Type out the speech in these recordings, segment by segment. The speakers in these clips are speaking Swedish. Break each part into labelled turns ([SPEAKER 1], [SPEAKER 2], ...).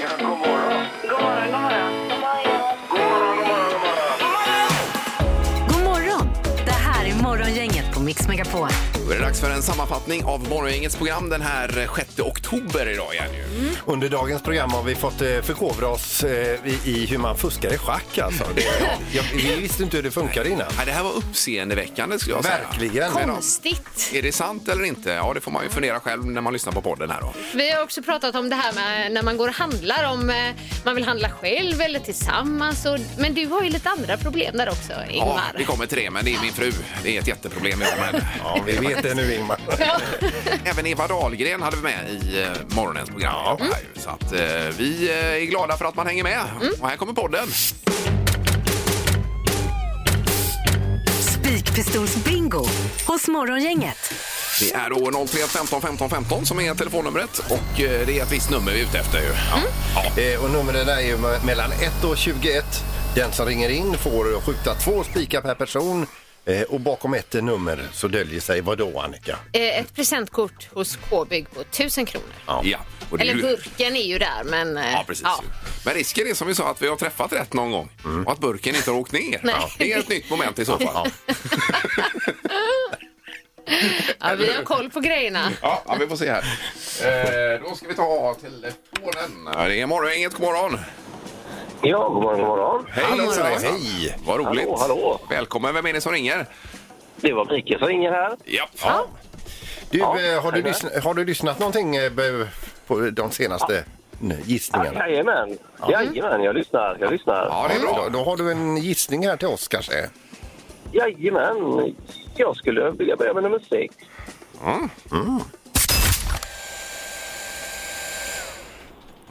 [SPEAKER 1] Ja, god morgon.
[SPEAKER 2] God morgon, god morgon.
[SPEAKER 1] God morgon, god morgon,
[SPEAKER 3] God
[SPEAKER 1] god morgon.
[SPEAKER 3] morgon! Det här är Morgongänget på Mix Megapol.
[SPEAKER 4] Då är det dags för en sammanfattning av Morgongängets program den här 6 oktober idag igen ju.
[SPEAKER 5] Under dagens program har vi fått eh, förkovra oss eh, i, i hur man fuskar i schack. Alltså. Det, jag, vi visste inte hur det funkar innan.
[SPEAKER 4] Nej, det här var uppseendeväckande skulle jag säga.
[SPEAKER 5] Verkligen.
[SPEAKER 4] Men, ja,
[SPEAKER 6] Konstigt.
[SPEAKER 4] är det sant eller inte? Ja, det får man ju fundera själv när man lyssnar på podden här då.
[SPEAKER 6] Vi har också pratat om det här med när man går och handlar, om eh, man vill handla själv eller tillsammans. Och, men du har ju lite andra problem där också,
[SPEAKER 4] Ja,
[SPEAKER 6] Ingmar.
[SPEAKER 4] vi kommer till det, men det är min fru. Det är ett jätteproblem jag har med.
[SPEAKER 5] Ja, vi vet det nu, Ingmar.
[SPEAKER 4] Även Eva Dahlgren hade vi med i eh, morgonens program. Här ju. Så att, eh, vi eh, är glada för att man hänger med.
[SPEAKER 6] Mm.
[SPEAKER 4] Och här kommer podden.
[SPEAKER 3] Spikpistolsbingo hos Morgongänget.
[SPEAKER 4] Det är då 031 15 15 15 som är telefonnumret och eh, det är ett visst nummer vi är ute efter. Ju. Ja.
[SPEAKER 6] Mm.
[SPEAKER 4] Ja.
[SPEAKER 5] Eh, och numren där är ju me- mellan 1 och 21. Den som ringer in får skjuta två spikar per person. Eh, och bakom ett nummer så döljer sig vad då, Annika?
[SPEAKER 6] Eh, Ett presentkort hos K-bygg på 1000 kronor.
[SPEAKER 4] Ja. Och det är
[SPEAKER 6] Eller
[SPEAKER 4] ju-
[SPEAKER 6] burken är ju där, men... eh,
[SPEAKER 4] Ja, precis. ju. Men risken är som vi sa att vi har träffat rätt någon gång och att burken inte har åkt ner.
[SPEAKER 6] Nej.
[SPEAKER 4] Ja. Det är ett nytt moment i så fall.
[SPEAKER 6] Ja, vi har koll på grejerna.
[SPEAKER 4] Ja, ja, vi får se här. Eh, då ska vi ta telefonen. Ja, Det är morgongänget, god morgon.
[SPEAKER 1] Ja, god morgon, god morgon.
[SPEAKER 4] Hej,
[SPEAKER 5] Hallå,
[SPEAKER 4] hejsan,
[SPEAKER 5] hej.
[SPEAKER 4] hejsan.
[SPEAKER 5] Hej.
[SPEAKER 4] Vad roligt.
[SPEAKER 1] Hallå, hallå.
[SPEAKER 4] Välkommen, vem är det som ringer?
[SPEAKER 1] Det var Mikael som ringer här.
[SPEAKER 4] Ja.
[SPEAKER 5] Du,
[SPEAKER 1] Ja,
[SPEAKER 5] eh, har, du
[SPEAKER 1] hej där.
[SPEAKER 5] lyssn- har du lyssnat någonting eh, b- på de senaste n- gissningarna?
[SPEAKER 1] Jajamän. Jajamän, jag lyssnar. Jag lyssnar.
[SPEAKER 4] Ja, det är
[SPEAKER 5] Då,
[SPEAKER 4] bra.
[SPEAKER 5] då har du en gissning här till oss kanske?
[SPEAKER 1] Jajamän. Jag skulle vilja börja med nummer sex.
[SPEAKER 4] Mm.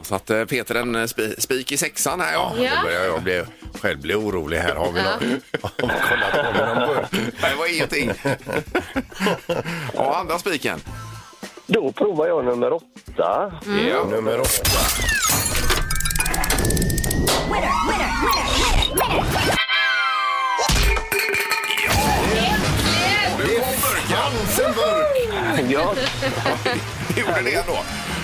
[SPEAKER 4] Så att eh, Peter en eh, spi- spik i sexan här ja.
[SPEAKER 6] Ja.
[SPEAKER 5] Då börjar jag bli, själv bli orolig här. Har vi någon, har vi kollat på med någon burk?
[SPEAKER 4] Nej, det var ingenting. ja, andra spiken.
[SPEAKER 1] Då provar jag nummer åtta.
[SPEAKER 4] Ja.
[SPEAKER 5] Nummer åtta.
[SPEAKER 4] Du kom burken.
[SPEAKER 5] Fanns en burk!
[SPEAKER 1] Ja,
[SPEAKER 4] Du gjorde det ändå.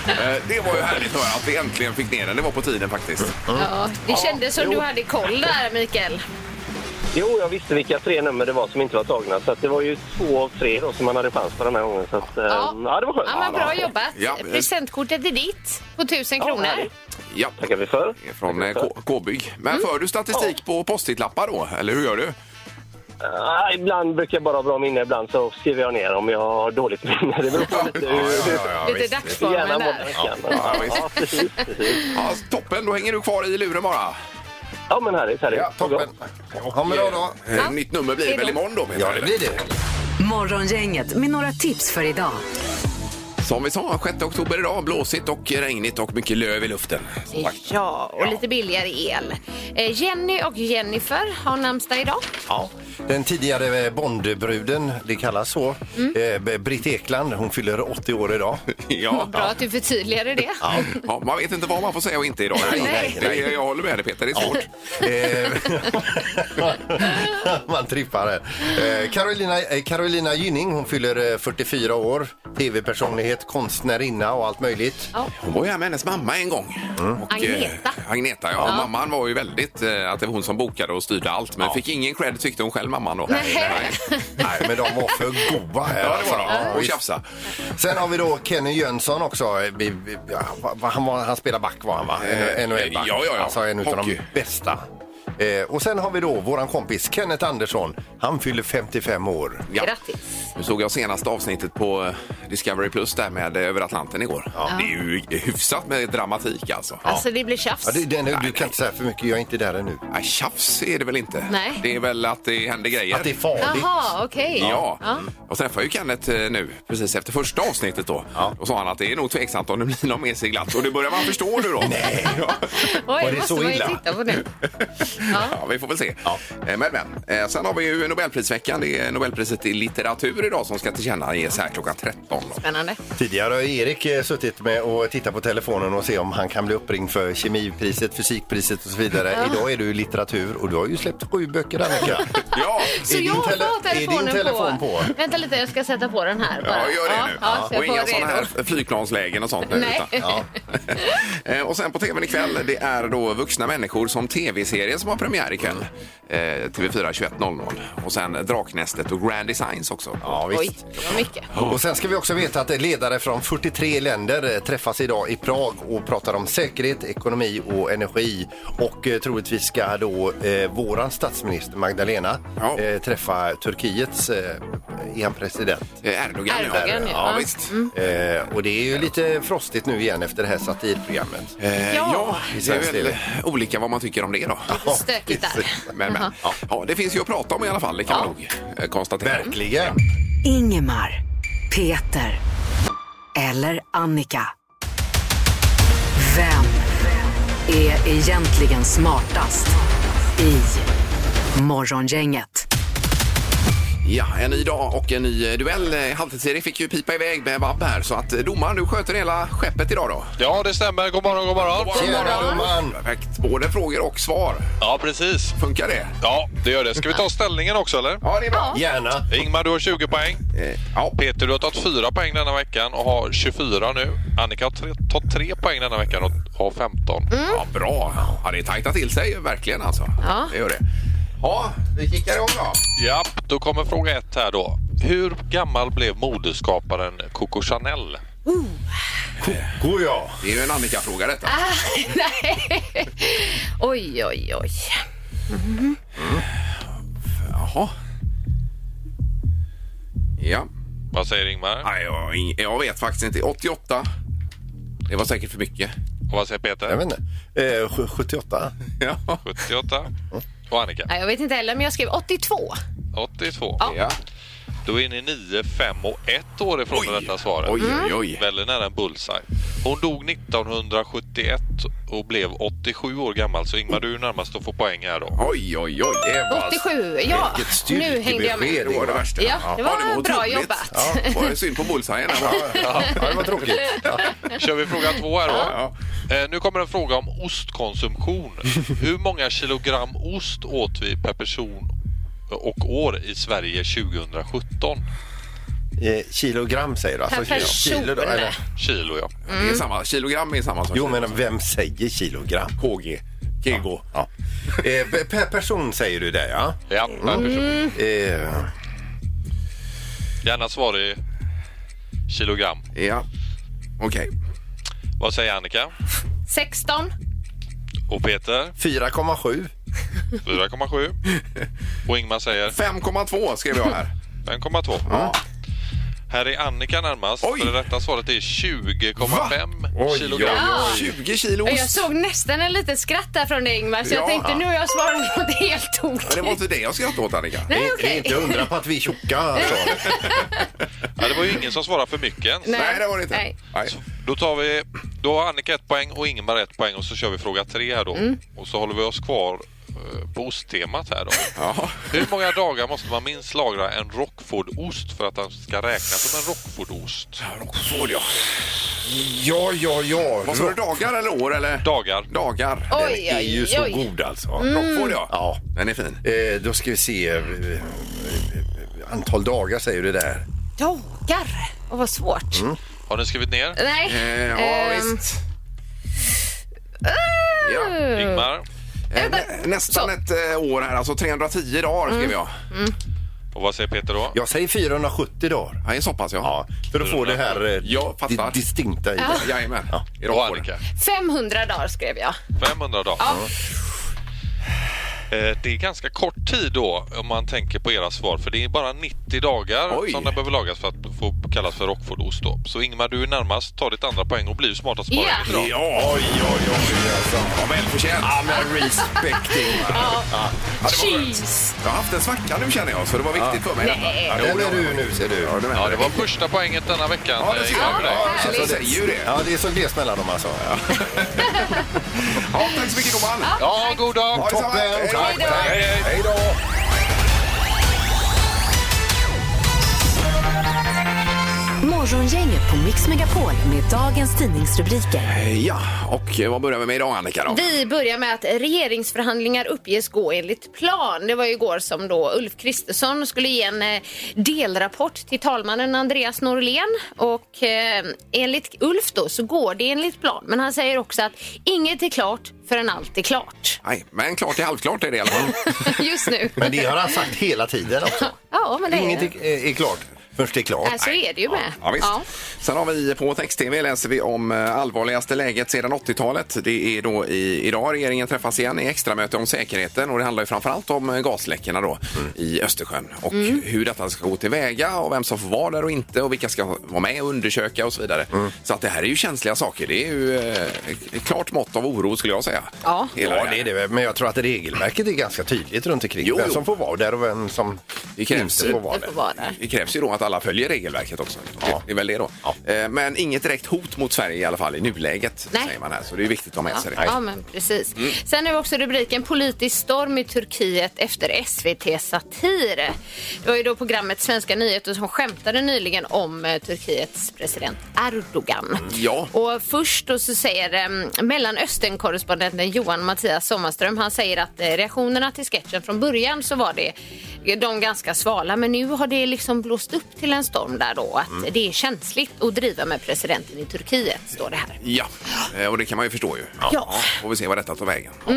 [SPEAKER 4] Eh, Det var ju härligt att höra att vi äntligen fick ner den. Det var på tiden faktiskt.
[SPEAKER 6] Ja, det kändes som du hade koll där, Mikael.
[SPEAKER 1] jo, jag visste vilka tre nummer det var som inte var tagna. Så att det var ju två av tre då som man hade chans på den här gången. Så att, eh, ja. det var skönt.
[SPEAKER 6] Ja, men bra jobbat.
[SPEAKER 4] Ja.
[SPEAKER 6] Presentkortet är ditt på 1000 kronor.
[SPEAKER 1] härligt.
[SPEAKER 4] Ja.
[SPEAKER 1] tackar vi för.
[SPEAKER 4] Det är Från eh, K- K-bygg. Men för du statistik på postitlappar då? Eller hur gör du?
[SPEAKER 1] Ah, ibland brukar jag bara ha bra minne, ibland så skriver jag ner om jag har dåligt minne. Det beror på lite hur
[SPEAKER 6] Lite dagsformen
[SPEAKER 1] hjärnan mår
[SPEAKER 6] där.
[SPEAKER 1] den veckan.
[SPEAKER 4] Ja, visst.
[SPEAKER 1] Ja, precis, precis.
[SPEAKER 4] Ja, toppen, då hänger du kvar i luren bara.
[SPEAKER 1] Ja, men härligt, härligt.
[SPEAKER 5] Ja, toppen. Ha en bra dag.
[SPEAKER 4] Eh, Nytt nummer blir väl imorgon då? Peter,
[SPEAKER 5] Ja, det
[SPEAKER 4] eller?
[SPEAKER 5] blir det.
[SPEAKER 3] Morgongänget med några tips för idag.
[SPEAKER 4] Som vi sa, 6 oktober idag. Blåsigt och regnigt och mycket löv i luften. som sagt.
[SPEAKER 6] Ja, och lite billigare el. Eh, Jenny och Jennifer har namnsdag idag.
[SPEAKER 5] Ja. Den tidigare eh, Bondbruden, det kallas så, eh, B- Britt Ekland, hon fyller 80 år idag.
[SPEAKER 4] Ja.
[SPEAKER 6] Bra att du förtydligade det.
[SPEAKER 4] Ja, man vet inte vad man får säga och inte idag.
[SPEAKER 5] Nej.
[SPEAKER 4] Det, jag håller med dig Peter, det är svårt.
[SPEAKER 5] Eh, Man trippar här. Eh, Carolina, eh, Carolina Gynning, hon fyller eh, 44 år. Tv-personlighet, konstnärinna och allt möjligt.
[SPEAKER 4] Hon var ju här med hennes mamma en gång. Och, eh,
[SPEAKER 6] Mm. Agneta.
[SPEAKER 4] Agneta, ja. Mamman var ju väldigt, eh, att det var hon som bokade och styrde allt. Men fick ingen cred tyckte hon själv, mamman då.
[SPEAKER 6] Nej.
[SPEAKER 5] Nej, men de var för goda här.
[SPEAKER 4] Ja, det var de.
[SPEAKER 5] Ja,
[SPEAKER 4] Och
[SPEAKER 5] visst.
[SPEAKER 4] tjafsa.
[SPEAKER 5] Sen har vi då Kenny Jönsson också. Eh, vi- vi- ja, va- Han, var, han spelar back var han va?
[SPEAKER 4] Eh,
[SPEAKER 5] NHL-back.
[SPEAKER 4] ja, ja, ja.
[SPEAKER 5] Alltså en av
[SPEAKER 4] Hockey.
[SPEAKER 5] de bästa. Eh, och sen har vi då våran kompis Kenneth Andersson. Han fyller 55 år.
[SPEAKER 4] Ja.
[SPEAKER 6] Grattis.
[SPEAKER 4] Nu såg jag senaste avsnittet på eh, Discovery Plus där med eh, Över Atlanten igår. Det är ju hyfsat med dramatik alltså.
[SPEAKER 6] Alltså det blir tjafs.
[SPEAKER 5] Ja, det, den, du kan inte säga för mycket, jag är inte där ännu.
[SPEAKER 4] Nej, Äh, tjafs är det väl inte?
[SPEAKER 6] Nej.
[SPEAKER 4] Det är väl att det händer grejer.
[SPEAKER 5] Att det är farligt.
[SPEAKER 6] Jaha, okej.
[SPEAKER 4] Ja, Mm.
[SPEAKER 6] Mm.
[SPEAKER 4] jag träffade ju Kenneth eh, nu precis efter första avsnittet då. Då sa han att det är nog tveksamt om det blir någon mer seglats och det börjar man förstå nu då. Nej.
[SPEAKER 6] Oj,
[SPEAKER 5] det
[SPEAKER 6] måste
[SPEAKER 5] så
[SPEAKER 6] man ju
[SPEAKER 5] illa?
[SPEAKER 6] titta på nu.
[SPEAKER 4] Ja. vi får väl se. Eh, Men, men. Eh, Sen har vi ju Nobelprisveckan. Det är Nobelpriset i litteratur idag som ska tillkännages här klockan 13.
[SPEAKER 6] Spännande.
[SPEAKER 5] Tidigare har Erik eh, suttit med och tittat på telefonen och se om han kan bli uppringd för kemipriset, fysikpriset och så vidare. Idag är du i litteratur och du har ju släppt sju böcker Annika.
[SPEAKER 4] Ja,
[SPEAKER 6] Så
[SPEAKER 5] Är din
[SPEAKER 6] jag
[SPEAKER 5] tele-
[SPEAKER 6] har
[SPEAKER 5] är din
[SPEAKER 6] telefonen,
[SPEAKER 5] telefon på?
[SPEAKER 6] på. Vänta lite, jag ska sätta på den här.
[SPEAKER 4] ja
[SPEAKER 6] bara.
[SPEAKER 4] gör det
[SPEAKER 6] ja,
[SPEAKER 4] nu.
[SPEAKER 6] Ja, så jag
[SPEAKER 4] Och inga
[SPEAKER 6] får
[SPEAKER 4] sådana
[SPEAKER 6] redo.
[SPEAKER 4] här flygplanslägen och sånt nu.
[SPEAKER 6] Nej.
[SPEAKER 4] Utan, ja. Eh, och sen på tvn ikväll, det är då vuxna människor som tv-serien som har premiär ikväll. Eh, TV4 21.00. Och sen Draknästet och Grand Designs också.
[SPEAKER 5] Ja, visst.
[SPEAKER 6] Oj, det var mycket.
[SPEAKER 5] Och sen ska vi också veta att ledare från 43 länder eh, träffas idag i Prag och pratar om säkerhet, ekonomi och energi. Och eh, troligtvis ska då eh, våran statsminister Magdalena
[SPEAKER 4] Ja.
[SPEAKER 5] eh, träffa Turkiets eh, är han president.
[SPEAKER 4] Eh, Erdogan,
[SPEAKER 6] Erdogan,
[SPEAKER 4] ja.
[SPEAKER 6] ja.
[SPEAKER 4] ja visst.
[SPEAKER 6] Mm.
[SPEAKER 5] Eh, och det är ju lite frostigt nu igen efter det här satirprogrammet.
[SPEAKER 4] Eh,
[SPEAKER 6] Ja.
[SPEAKER 4] ja, det är
[SPEAKER 5] Svensk
[SPEAKER 4] väl
[SPEAKER 5] TV.
[SPEAKER 4] olika vad man tycker om det då.
[SPEAKER 6] Stökigt där.
[SPEAKER 4] Men, men. Ja. det finns ju att prata om i alla fall, det kan man nog eh, konstatera.
[SPEAKER 5] Verkligen!
[SPEAKER 6] Mm.
[SPEAKER 3] Ingemar, Peter eller Annika. Vem är egentligen smartast i Morgongänget?
[SPEAKER 4] Ja, en ny dag och en ny eh, duell. Eh, Halvtids-Erik fick ju pipa iväg med vabb här, så att eh, domaren, du sköter hela skeppet idag då.
[SPEAKER 7] Ja, det stämmer. God morgon, god morgon.
[SPEAKER 5] Tjena domaren!
[SPEAKER 4] Perfekt, både frågor och svar.
[SPEAKER 7] Ja, precis.
[SPEAKER 4] Funkar det?
[SPEAKER 7] Ja, det gör det. Ska vi ta ställningen också, eller?
[SPEAKER 4] Ja, det är bra.
[SPEAKER 5] Gärna!
[SPEAKER 7] Ingmar, du har 20 poäng.
[SPEAKER 4] Eh, Ja,
[SPEAKER 7] Peter, du har tagit 4 poäng denna veckan och har 24 nu. Annika har tre- tagit 3 poäng denna veckan och har 15.
[SPEAKER 4] ja bra. Ja, det tajtar till sig verkligen alltså.
[SPEAKER 6] Ja.
[SPEAKER 4] Det gör det. Ja, vi kickar igång då.
[SPEAKER 7] Ja, då kommer fråga ett här då. Hur gammal blev modeskaparen Coco Chanel?
[SPEAKER 5] Går jag?
[SPEAKER 4] Det är ju en Annika-fråga detta.
[SPEAKER 6] Oj, oj, oj.
[SPEAKER 4] Jaha. Ja.
[SPEAKER 7] Vad säger Ingmar?
[SPEAKER 4] Nej, jag, har ing- jag vet faktiskt inte. 88. Det var säkert för mycket.
[SPEAKER 7] Och vad säger
[SPEAKER 5] Jag
[SPEAKER 7] Peter?
[SPEAKER 5] vet inte. Eh, sj- 78?
[SPEAKER 4] Ja.
[SPEAKER 7] 78. Och Annika?
[SPEAKER 6] Nej, jag vet inte heller, men jag skrev 82.
[SPEAKER 7] 82.
[SPEAKER 4] ja.
[SPEAKER 7] Då är ni 9, 5 och 1 år ifrån med detta svaret.
[SPEAKER 4] Oj, oj,
[SPEAKER 6] Mm.
[SPEAKER 4] oj.
[SPEAKER 7] Väldigt nära en bullseye. Hon dog 1971 och blev 87 år gammal. Så Ingmar, du är närmast att få poäng här då.
[SPEAKER 4] Oj, oj, oj. Det var... alltså
[SPEAKER 6] 87, ja.
[SPEAKER 5] Vilket styrkebesked.
[SPEAKER 6] Nu hängde jag med.
[SPEAKER 4] Det var det värsta.
[SPEAKER 6] Ja, det var bra
[SPEAKER 4] otroligt.
[SPEAKER 6] jobbat.
[SPEAKER 4] Ja, var det synd på bullseyen. där, va?
[SPEAKER 5] Ja, det var tråkigt. Ja.
[SPEAKER 7] Kör vi fråga två här då.
[SPEAKER 4] Ja.
[SPEAKER 7] Eh, nu kommer en fråga om ostkonsumtion. Hur många kilogram ost åt vi per person och år i Sverige 2017?
[SPEAKER 5] Eh, kilogram säger du? alltså
[SPEAKER 6] Per
[SPEAKER 5] kilo. Kilo då,
[SPEAKER 6] person.
[SPEAKER 5] eller?
[SPEAKER 7] Kilo ja.
[SPEAKER 6] Mm.
[SPEAKER 4] Det är samma. Kilogram är samma som
[SPEAKER 5] Jo, men vem säger kilogram?
[SPEAKER 4] KG. Kego.
[SPEAKER 5] Ja. Eh, pe- per person säger du det, ja.
[SPEAKER 7] ja per person.
[SPEAKER 5] Eh,
[SPEAKER 7] Gärna svar i kilogram.
[SPEAKER 4] Ja. Okej.
[SPEAKER 7] Vad säger Annika?
[SPEAKER 6] 16.
[SPEAKER 7] Och Peter?
[SPEAKER 5] 4,7.
[SPEAKER 7] 4,7. Och Ingmar säger?
[SPEAKER 4] 5,2 skrev jag här.
[SPEAKER 7] 5,2.
[SPEAKER 4] Ja.
[SPEAKER 7] Här är Annika närmast.
[SPEAKER 4] Oj.
[SPEAKER 7] För det rätta svaret är 20,5 kilogram.
[SPEAKER 4] oj. 20 kilo
[SPEAKER 6] Och Jag
[SPEAKER 4] ost.
[SPEAKER 6] såg nästan en liten skratt där från dig, Ingmar, så
[SPEAKER 4] Ja.
[SPEAKER 6] jag tänkte nu har jag svarat något helt
[SPEAKER 4] Men det var
[SPEAKER 6] tokigt.
[SPEAKER 4] inte det jag skrattade åt, Annika.
[SPEAKER 6] Nej,
[SPEAKER 5] Det är
[SPEAKER 6] okej.
[SPEAKER 5] inte undra på att vi är tjocka. Alltså.
[SPEAKER 7] Ja, det var ju ingen som svarade för mycket ens.
[SPEAKER 6] Nej.
[SPEAKER 4] det var det inte.
[SPEAKER 6] Nej.
[SPEAKER 4] Nej.
[SPEAKER 7] Då, tar vi, då har Annika ett poäng och Ingmar ett poäng och så kör vi fråga tre här då.
[SPEAKER 4] Mm.
[SPEAKER 7] Och så håller vi oss kvar eh, på osttemat här då.
[SPEAKER 4] Ja.
[SPEAKER 7] Hur många dagar måste man minst lagra en Rockfordost för att den ska räknas som en Rockfordost?
[SPEAKER 4] Rockford, ja.
[SPEAKER 5] Ja, ja, ja.
[SPEAKER 4] Vad sa du? Dagar eller år? Eller?
[SPEAKER 7] Dagar.
[SPEAKER 4] Dagar.
[SPEAKER 6] Oj,
[SPEAKER 4] Den är
[SPEAKER 6] oj, Mm.
[SPEAKER 4] ju
[SPEAKER 5] Så
[SPEAKER 4] så god.
[SPEAKER 5] god alltså.
[SPEAKER 4] Rockford, ja.
[SPEAKER 5] Ja.
[SPEAKER 4] Den är fin.
[SPEAKER 5] Eh, då ska vi se. eh, eh, eh, Antal dagar säger du där.
[SPEAKER 6] Dagar. Åh, vad svårt.
[SPEAKER 7] Har ni skrivit ner?
[SPEAKER 6] Nej.
[SPEAKER 4] Mm. Eh, ja,
[SPEAKER 6] Ehm,
[SPEAKER 4] visst. Ja.
[SPEAKER 7] Ingmar?
[SPEAKER 4] Eh, nä- nästan
[SPEAKER 6] Så.
[SPEAKER 4] ett eh, år här, alltså 310 dagar skrev jag.
[SPEAKER 7] Och vad säger Peter då?
[SPEAKER 5] Jag säger 470 dagar.
[SPEAKER 4] Ja, det är så pass, ja.
[SPEAKER 5] Ja, för att få det här eh,
[SPEAKER 4] Jag fattar.
[SPEAKER 5] di- distinkta i det.
[SPEAKER 4] Jajamän.
[SPEAKER 5] Ja.
[SPEAKER 4] I
[SPEAKER 7] Och
[SPEAKER 4] Rockford.
[SPEAKER 7] Annika?
[SPEAKER 6] 500 dagar skrev jag.
[SPEAKER 7] 500 dagar. Eh, Det är ganska kort tid då om man tänker på era svar för det är bara 90 dagar
[SPEAKER 4] Oj.
[SPEAKER 7] som det behöver lagas för att får kallas för Rockfordost då. Så Ingmar, du är närmast, tar ditt andra poäng och blir ju smartast på
[SPEAKER 6] Ja.
[SPEAKER 7] yeah. idag.
[SPEAKER 4] Ja, oj, oj, oj. Alltså. Ja, välförtjänt.
[SPEAKER 5] Ja, men respecting.
[SPEAKER 4] Ja, det var skönt.
[SPEAKER 6] Cheese!
[SPEAKER 4] Jag har haft en svacka nu känner jag, så det var viktigt för mig.
[SPEAKER 6] Nej.
[SPEAKER 4] Ja,
[SPEAKER 5] Ja,
[SPEAKER 4] det
[SPEAKER 5] den
[SPEAKER 4] var
[SPEAKER 5] är
[SPEAKER 4] det.
[SPEAKER 5] du nu ser du.
[SPEAKER 4] Ja, det
[SPEAKER 7] Ja,
[SPEAKER 4] var
[SPEAKER 7] det var första poänget denna veckan.
[SPEAKER 4] Ja, det ser
[SPEAKER 7] Ingmar,
[SPEAKER 4] jag.
[SPEAKER 7] för dig.
[SPEAKER 4] Ja, alltså, jag
[SPEAKER 6] härligt.
[SPEAKER 4] säger ju det.
[SPEAKER 5] Ja, det är så glest mellan dem alltså.
[SPEAKER 4] Ja, tack så mycket gumman.
[SPEAKER 7] Ja, god dag!
[SPEAKER 4] Ha det så bra.
[SPEAKER 5] Toppen.
[SPEAKER 4] Hej då.
[SPEAKER 5] Tack, tack.
[SPEAKER 4] Hej, hej. Hej då.
[SPEAKER 3] Morgongänget på Mix Megapol med dagens tidningsrubriker.
[SPEAKER 4] Eh, Ja, och vad börjar vi med idag Annika då?
[SPEAKER 6] Vi börjar med att regeringsförhandlingar uppges gå enligt plan. Det var ju igår som då Ulf Kristersson skulle ge en eh, delrapport till talmannen Andreas Norlén. Och eh, enligt Ulf då så går det enligt plan. Men han säger också att inget är klart förrän allt är klart.
[SPEAKER 4] Nej, men klart till halvklart är det i alla fall.
[SPEAKER 6] Just nu.
[SPEAKER 5] Men det har han sagt hela tiden också.
[SPEAKER 6] Ja, men det är det.
[SPEAKER 5] Inget är, är klart först det är klart.
[SPEAKER 6] Nej, så är det ju med.
[SPEAKER 4] Ja, visst. Sen har vi på text-tv läser vi om eh, allvarligaste läget sedan 80-talet. Det är då i, idag regeringen träffas igen i extramöte om säkerheten och det handlar ju framförallt om eh, gasläckorna då
[SPEAKER 5] Mm.
[SPEAKER 4] i Östersjön och hur detta ska gå tillväga och vem som får vara där och inte och vilka ska vara med och undersöka och så vidare.
[SPEAKER 5] Mm.
[SPEAKER 4] Så att det här är ju känsliga saker. Det är ju eh, ett klart mått av oro skulle jag säga.
[SPEAKER 6] Ja.
[SPEAKER 4] Hela
[SPEAKER 5] Ja, det är det. väl, Men jag tror att regelverket är ganska tydligt runt omkring.
[SPEAKER 4] Jo,
[SPEAKER 5] vem
[SPEAKER 4] jo.
[SPEAKER 5] som får vara där och vem som
[SPEAKER 4] Det krävs-
[SPEAKER 5] inte får vara
[SPEAKER 6] Det
[SPEAKER 5] där.
[SPEAKER 6] får vara där.
[SPEAKER 4] Det krävs ju då att alla följer regelverket också.
[SPEAKER 5] Ja.
[SPEAKER 4] Det är väl det då.
[SPEAKER 5] Ja.
[SPEAKER 4] Eh, Men inget direkt hot mot Sverige i alla fall i nuläget.
[SPEAKER 6] Nej.
[SPEAKER 4] Säger man här, så det är viktigt att ha med sig Alltså, det. Mm.
[SPEAKER 6] Ja, ja, men precis. Sen är det också rubriken Politisk storm i Turkiet efter SVT Satir. Det var ju då programmet Svenska nyheter som skämtade nyligen om eh, Turkiets president Erdogan.
[SPEAKER 4] Mm, Ja.
[SPEAKER 6] Och först då så säger eh, Mellanöstern-korrespondenten Johan Mattias Sommarström, han säger att eh, reaktionerna till sketchen från början så var det eh, de ganska svala, men nu har det liksom blåst upp till en storm där då. Att
[SPEAKER 4] Mm.
[SPEAKER 6] det är känsligt att driva med presidenten i Turkiet, står det här.
[SPEAKER 4] Ja, eh, och det kan man ju förstå ju.
[SPEAKER 6] Ja. Mm.
[SPEAKER 4] Får vi se vad detta tar vägen. Ja.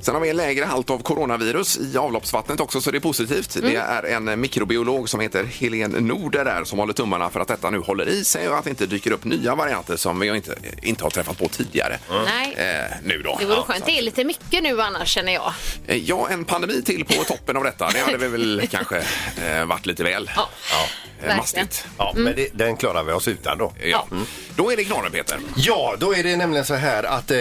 [SPEAKER 4] Sen har vi en lägre halt av coronavirus i avloppsvattnet också, så det är positivt.
[SPEAKER 6] Mm.
[SPEAKER 4] Det är en mikrobiolog som heter Helene Norder där som håller tummarna för att detta nu håller i sig och att det inte dyker upp nya varianter som vi inte, inte har träffat på tidigare.
[SPEAKER 6] Nej.
[SPEAKER 4] Eh, nu då.
[SPEAKER 6] Det vore
[SPEAKER 4] Ja, så
[SPEAKER 6] skönt. Det är lite mycket nu annars känner jag.
[SPEAKER 4] Eh, Ja, en pandemi till på toppen av detta. Det hade vi väl kanske eh, varit lite väl
[SPEAKER 6] Ja,
[SPEAKER 4] eh,
[SPEAKER 6] verkligen. Mm.
[SPEAKER 4] mastigt.
[SPEAKER 5] Ja, men det, den klarar vi oss utan då.
[SPEAKER 4] Ja. Då är det knorren, Peter.
[SPEAKER 5] Ja, då är det nämligen så här att eh,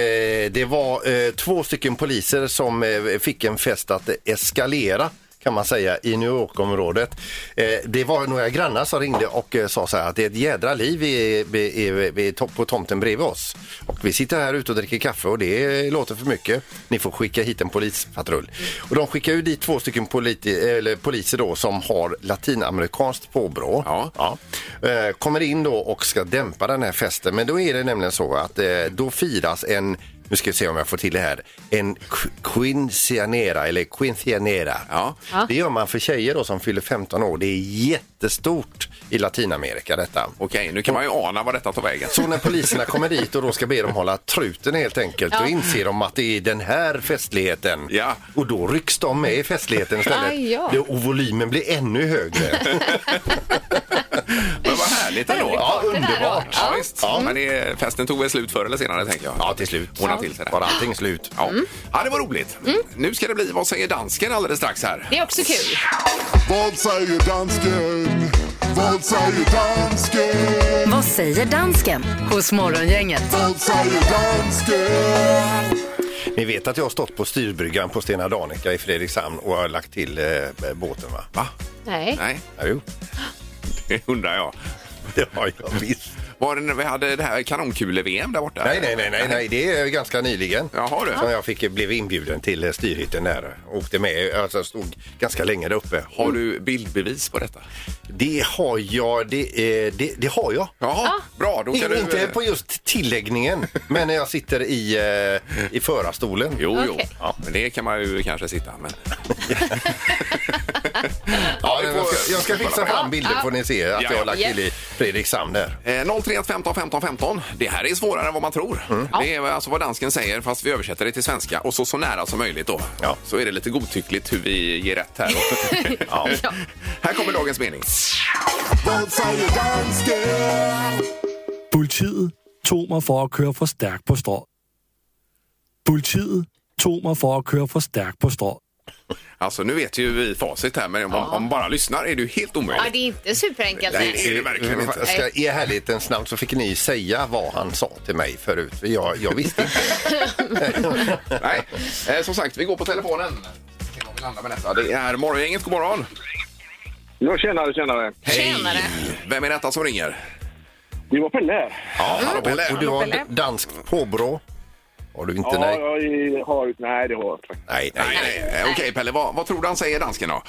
[SPEAKER 5] det var eh, två stycken poliser som eh, fick en fest att eskalera kan man säga i New York-området. Eh, det var några grannar som ringde och eh, sa så här att det är ett jädra liv i, i, i, i, to- på tomten bredvid oss. Och vi sitter här ute och dricker kaffe och det eh, låter för mycket. Ni får skicka hit en polispatrull. Och de skickar ju dit två stycken politi- eller poliser då som har latinamerikanskt påbrå.
[SPEAKER 4] Ja.
[SPEAKER 5] Eh, kommer in då och ska dämpa den här festen. Men då är det nämligen så att eh, då firas en, nu ska vi se om jag får till det här, en qu- quincianera eller quincianera.
[SPEAKER 4] Ja.
[SPEAKER 5] Det gör man för tjejer då som fyller 15 år. Det är jättestort i Latinamerika detta.
[SPEAKER 4] Okej, nu kan man ju ana vad detta tar vägen.
[SPEAKER 5] Så när poliserna kommer dit och då ska be dem hålla truten helt enkelt, då
[SPEAKER 6] Ja.
[SPEAKER 5] inser de att det är den här festligheten.
[SPEAKER 4] Ja.
[SPEAKER 5] Och då rycks de med i festligheten istället.
[SPEAKER 6] Aj, ja.
[SPEAKER 5] Det- Och volymen blir ännu högre.
[SPEAKER 4] Men vad härligt ändå.
[SPEAKER 5] Ja,
[SPEAKER 6] där
[SPEAKER 5] underbart.
[SPEAKER 6] då. Mm.
[SPEAKER 4] Ja, visst. Men det, festen tog väl slut förr eller senare, tänker jag.
[SPEAKER 5] Ja, till slut.
[SPEAKER 4] Ordna till sig det.
[SPEAKER 5] Var allting slut.
[SPEAKER 4] Ja.
[SPEAKER 6] Mm.
[SPEAKER 4] ja, det var roligt. Nu ska det bli Vad säger dansken alldeles strax här.
[SPEAKER 6] Det är också kul.
[SPEAKER 8] Vad säger dansken? Vad säger dansken?
[SPEAKER 3] Vad säger dansken hos Morgongänget?
[SPEAKER 8] Vad säger dansken?
[SPEAKER 5] Ni vet att jag har stått på styrbryggan på Stena Danica i Fredrikshamn och har lagt till eh, båten va?
[SPEAKER 4] Va?
[SPEAKER 6] Nej.
[SPEAKER 4] Nej,
[SPEAKER 5] Ja, jo,
[SPEAKER 4] det undrar jag.
[SPEAKER 5] det har jag visst.
[SPEAKER 4] Var det när vi hade det här kanonkule-VM där borta?
[SPEAKER 5] Nej, nej, nej, nej, nej, det är ganska nyligen.
[SPEAKER 4] Jaha, du.
[SPEAKER 5] Som jag fick, blev inbjuden till eh, styrhytten där. Åkte med, alltså stod ganska länge där uppe.
[SPEAKER 4] Har du bildbevis på detta?
[SPEAKER 5] Det har jag, det, eh, det, det har jag.
[SPEAKER 4] Jaha, bra. Då kan du...
[SPEAKER 5] Inte på just tilläggningen, men när jag sitter i, eh, i förarstolen.
[SPEAKER 4] Jo, jo.
[SPEAKER 6] Okej.
[SPEAKER 4] Ja, men det kan man ju kanske sitta. Men...
[SPEAKER 5] Ja,
[SPEAKER 4] vi får-
[SPEAKER 5] jag, ska, jag ska fixa fram bilder får ni se att jag har lagt till i Fredrikshamn där.
[SPEAKER 4] Eh, 031 15 15 15. Det här är svårare än vad man tror. Det är alltså vad dansken säger fast vi översätter det till svenska och så, så nära som möjligt då.
[SPEAKER 5] Ja.
[SPEAKER 4] Så är det lite godtyckligt hur vi ger rätt här. ja. Här kommer dagens mening.
[SPEAKER 8] Vad säger dansken?
[SPEAKER 9] Politiet tog mig för att køre for stærkt på strå. Politiet tog mig for at køre for stærkt på strå.
[SPEAKER 4] Alltså nu vet ju vi facit här men om, om man bara lyssnar är det ju helt
[SPEAKER 6] Ja,
[SPEAKER 4] omöjligt.
[SPEAKER 6] det är inte superenkelt.
[SPEAKER 4] Nej,
[SPEAKER 6] nej.
[SPEAKER 4] det är det verkligen inte.
[SPEAKER 5] Jag Mm. Ska, I ärlighetens namn så fick ni säga vad han sa till mig förut. för Jag, jag visste inte.
[SPEAKER 4] Nej, eh, som sagt, vi går på telefonen. Se om vi landar med detta. Det är Morgongänget, god morgon.
[SPEAKER 1] Ja, tjenare, tjenare.
[SPEAKER 6] Tjenare.
[SPEAKER 4] Vem är detta som ringer?
[SPEAKER 1] Det var Pelle.
[SPEAKER 4] Ja, hallå Pelle.
[SPEAKER 5] och du har danskt påbrå. Har du inte? nej.
[SPEAKER 1] jag har... Nej, det har jag faktiskt.
[SPEAKER 4] Nej, nej, nej. Eh, Okej Pelle, vad, vad tror du han säger dansken då?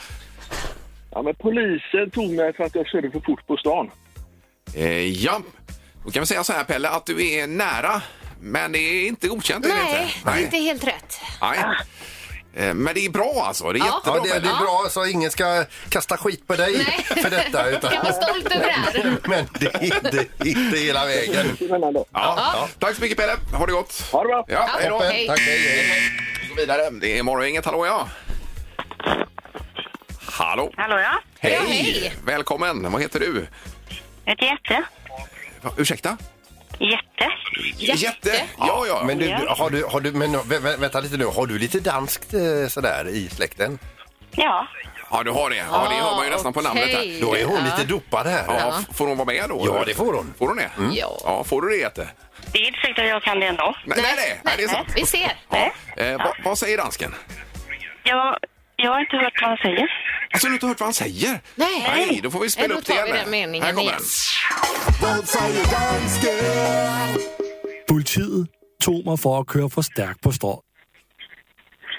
[SPEAKER 1] Ja, men polisen tog mig för att jag körde för fort på stan.
[SPEAKER 4] Eh, ja, då kan vi säga så här Pelle att du är nära men det är inte godkänt. är det
[SPEAKER 6] Nej, det är
[SPEAKER 4] Nej.
[SPEAKER 6] inte helt rätt.
[SPEAKER 4] nej. Eh, Men det är bra alltså. Det är
[SPEAKER 6] Ja.
[SPEAKER 4] jättebra.
[SPEAKER 5] Ja, det, det
[SPEAKER 4] Pelle.
[SPEAKER 5] är bra, så ingen ska kasta skit på dig
[SPEAKER 6] Nej.
[SPEAKER 5] för detta. Utan,
[SPEAKER 6] Jag var stolt över det här.
[SPEAKER 5] men det är inte, inte hela vägen.
[SPEAKER 4] Ja. Tack så mycket Pelle. Ha det gott.
[SPEAKER 1] Ha det bra.
[SPEAKER 4] Ja, hej då.
[SPEAKER 5] Toppen,
[SPEAKER 6] Hej.
[SPEAKER 5] tack, hej, hej.
[SPEAKER 4] Vi går vidare. Det är Morgongänget. Hallå ja. Hallå.
[SPEAKER 2] Hallå ja?
[SPEAKER 4] Hej.
[SPEAKER 6] Ja, hej.
[SPEAKER 4] Välkommen. Vad heter du?
[SPEAKER 2] Ett jätte.
[SPEAKER 4] Va, ursäkta?
[SPEAKER 2] Jätte.
[SPEAKER 6] Jätte.
[SPEAKER 4] Ja, ja.
[SPEAKER 5] Men, du,
[SPEAKER 2] Ja.
[SPEAKER 5] har du, har du, men vä- vä- vänta lite nu, har du lite danskt eh, sådär i släkten?
[SPEAKER 2] Ja.
[SPEAKER 4] ja, du har det. Ja, det hör man ju
[SPEAKER 6] Ah,
[SPEAKER 4] nästan på
[SPEAKER 6] okej.
[SPEAKER 4] namnet. Här.
[SPEAKER 5] Då är hon lite dopad här.
[SPEAKER 4] Ja, f- Får hon vara med då?
[SPEAKER 5] Ja, det får hon. Mm.
[SPEAKER 4] Får hon det?
[SPEAKER 6] Ja.
[SPEAKER 4] ja får du det, Jätte?
[SPEAKER 2] Det är inte säkert att jag kan det ändå.
[SPEAKER 4] Nej, nej, nej, nej, det är sant.
[SPEAKER 6] Vi ser.
[SPEAKER 4] Ja. Eh, vad, vad säger dansken?
[SPEAKER 2] Jag, jag har inte hört vad han säger.
[SPEAKER 4] Alltså, du har inte hört vad han säger?
[SPEAKER 6] Nej.
[SPEAKER 4] nej då får vi spela
[SPEAKER 6] Nej, då
[SPEAKER 4] upp det
[SPEAKER 6] tar
[SPEAKER 4] igen.
[SPEAKER 6] vi den meningen
[SPEAKER 4] Här kommer
[SPEAKER 6] igen.
[SPEAKER 4] den.
[SPEAKER 8] Vad säger dansken?
[SPEAKER 9] Politiet tog mig for at køre for stærkt på strå.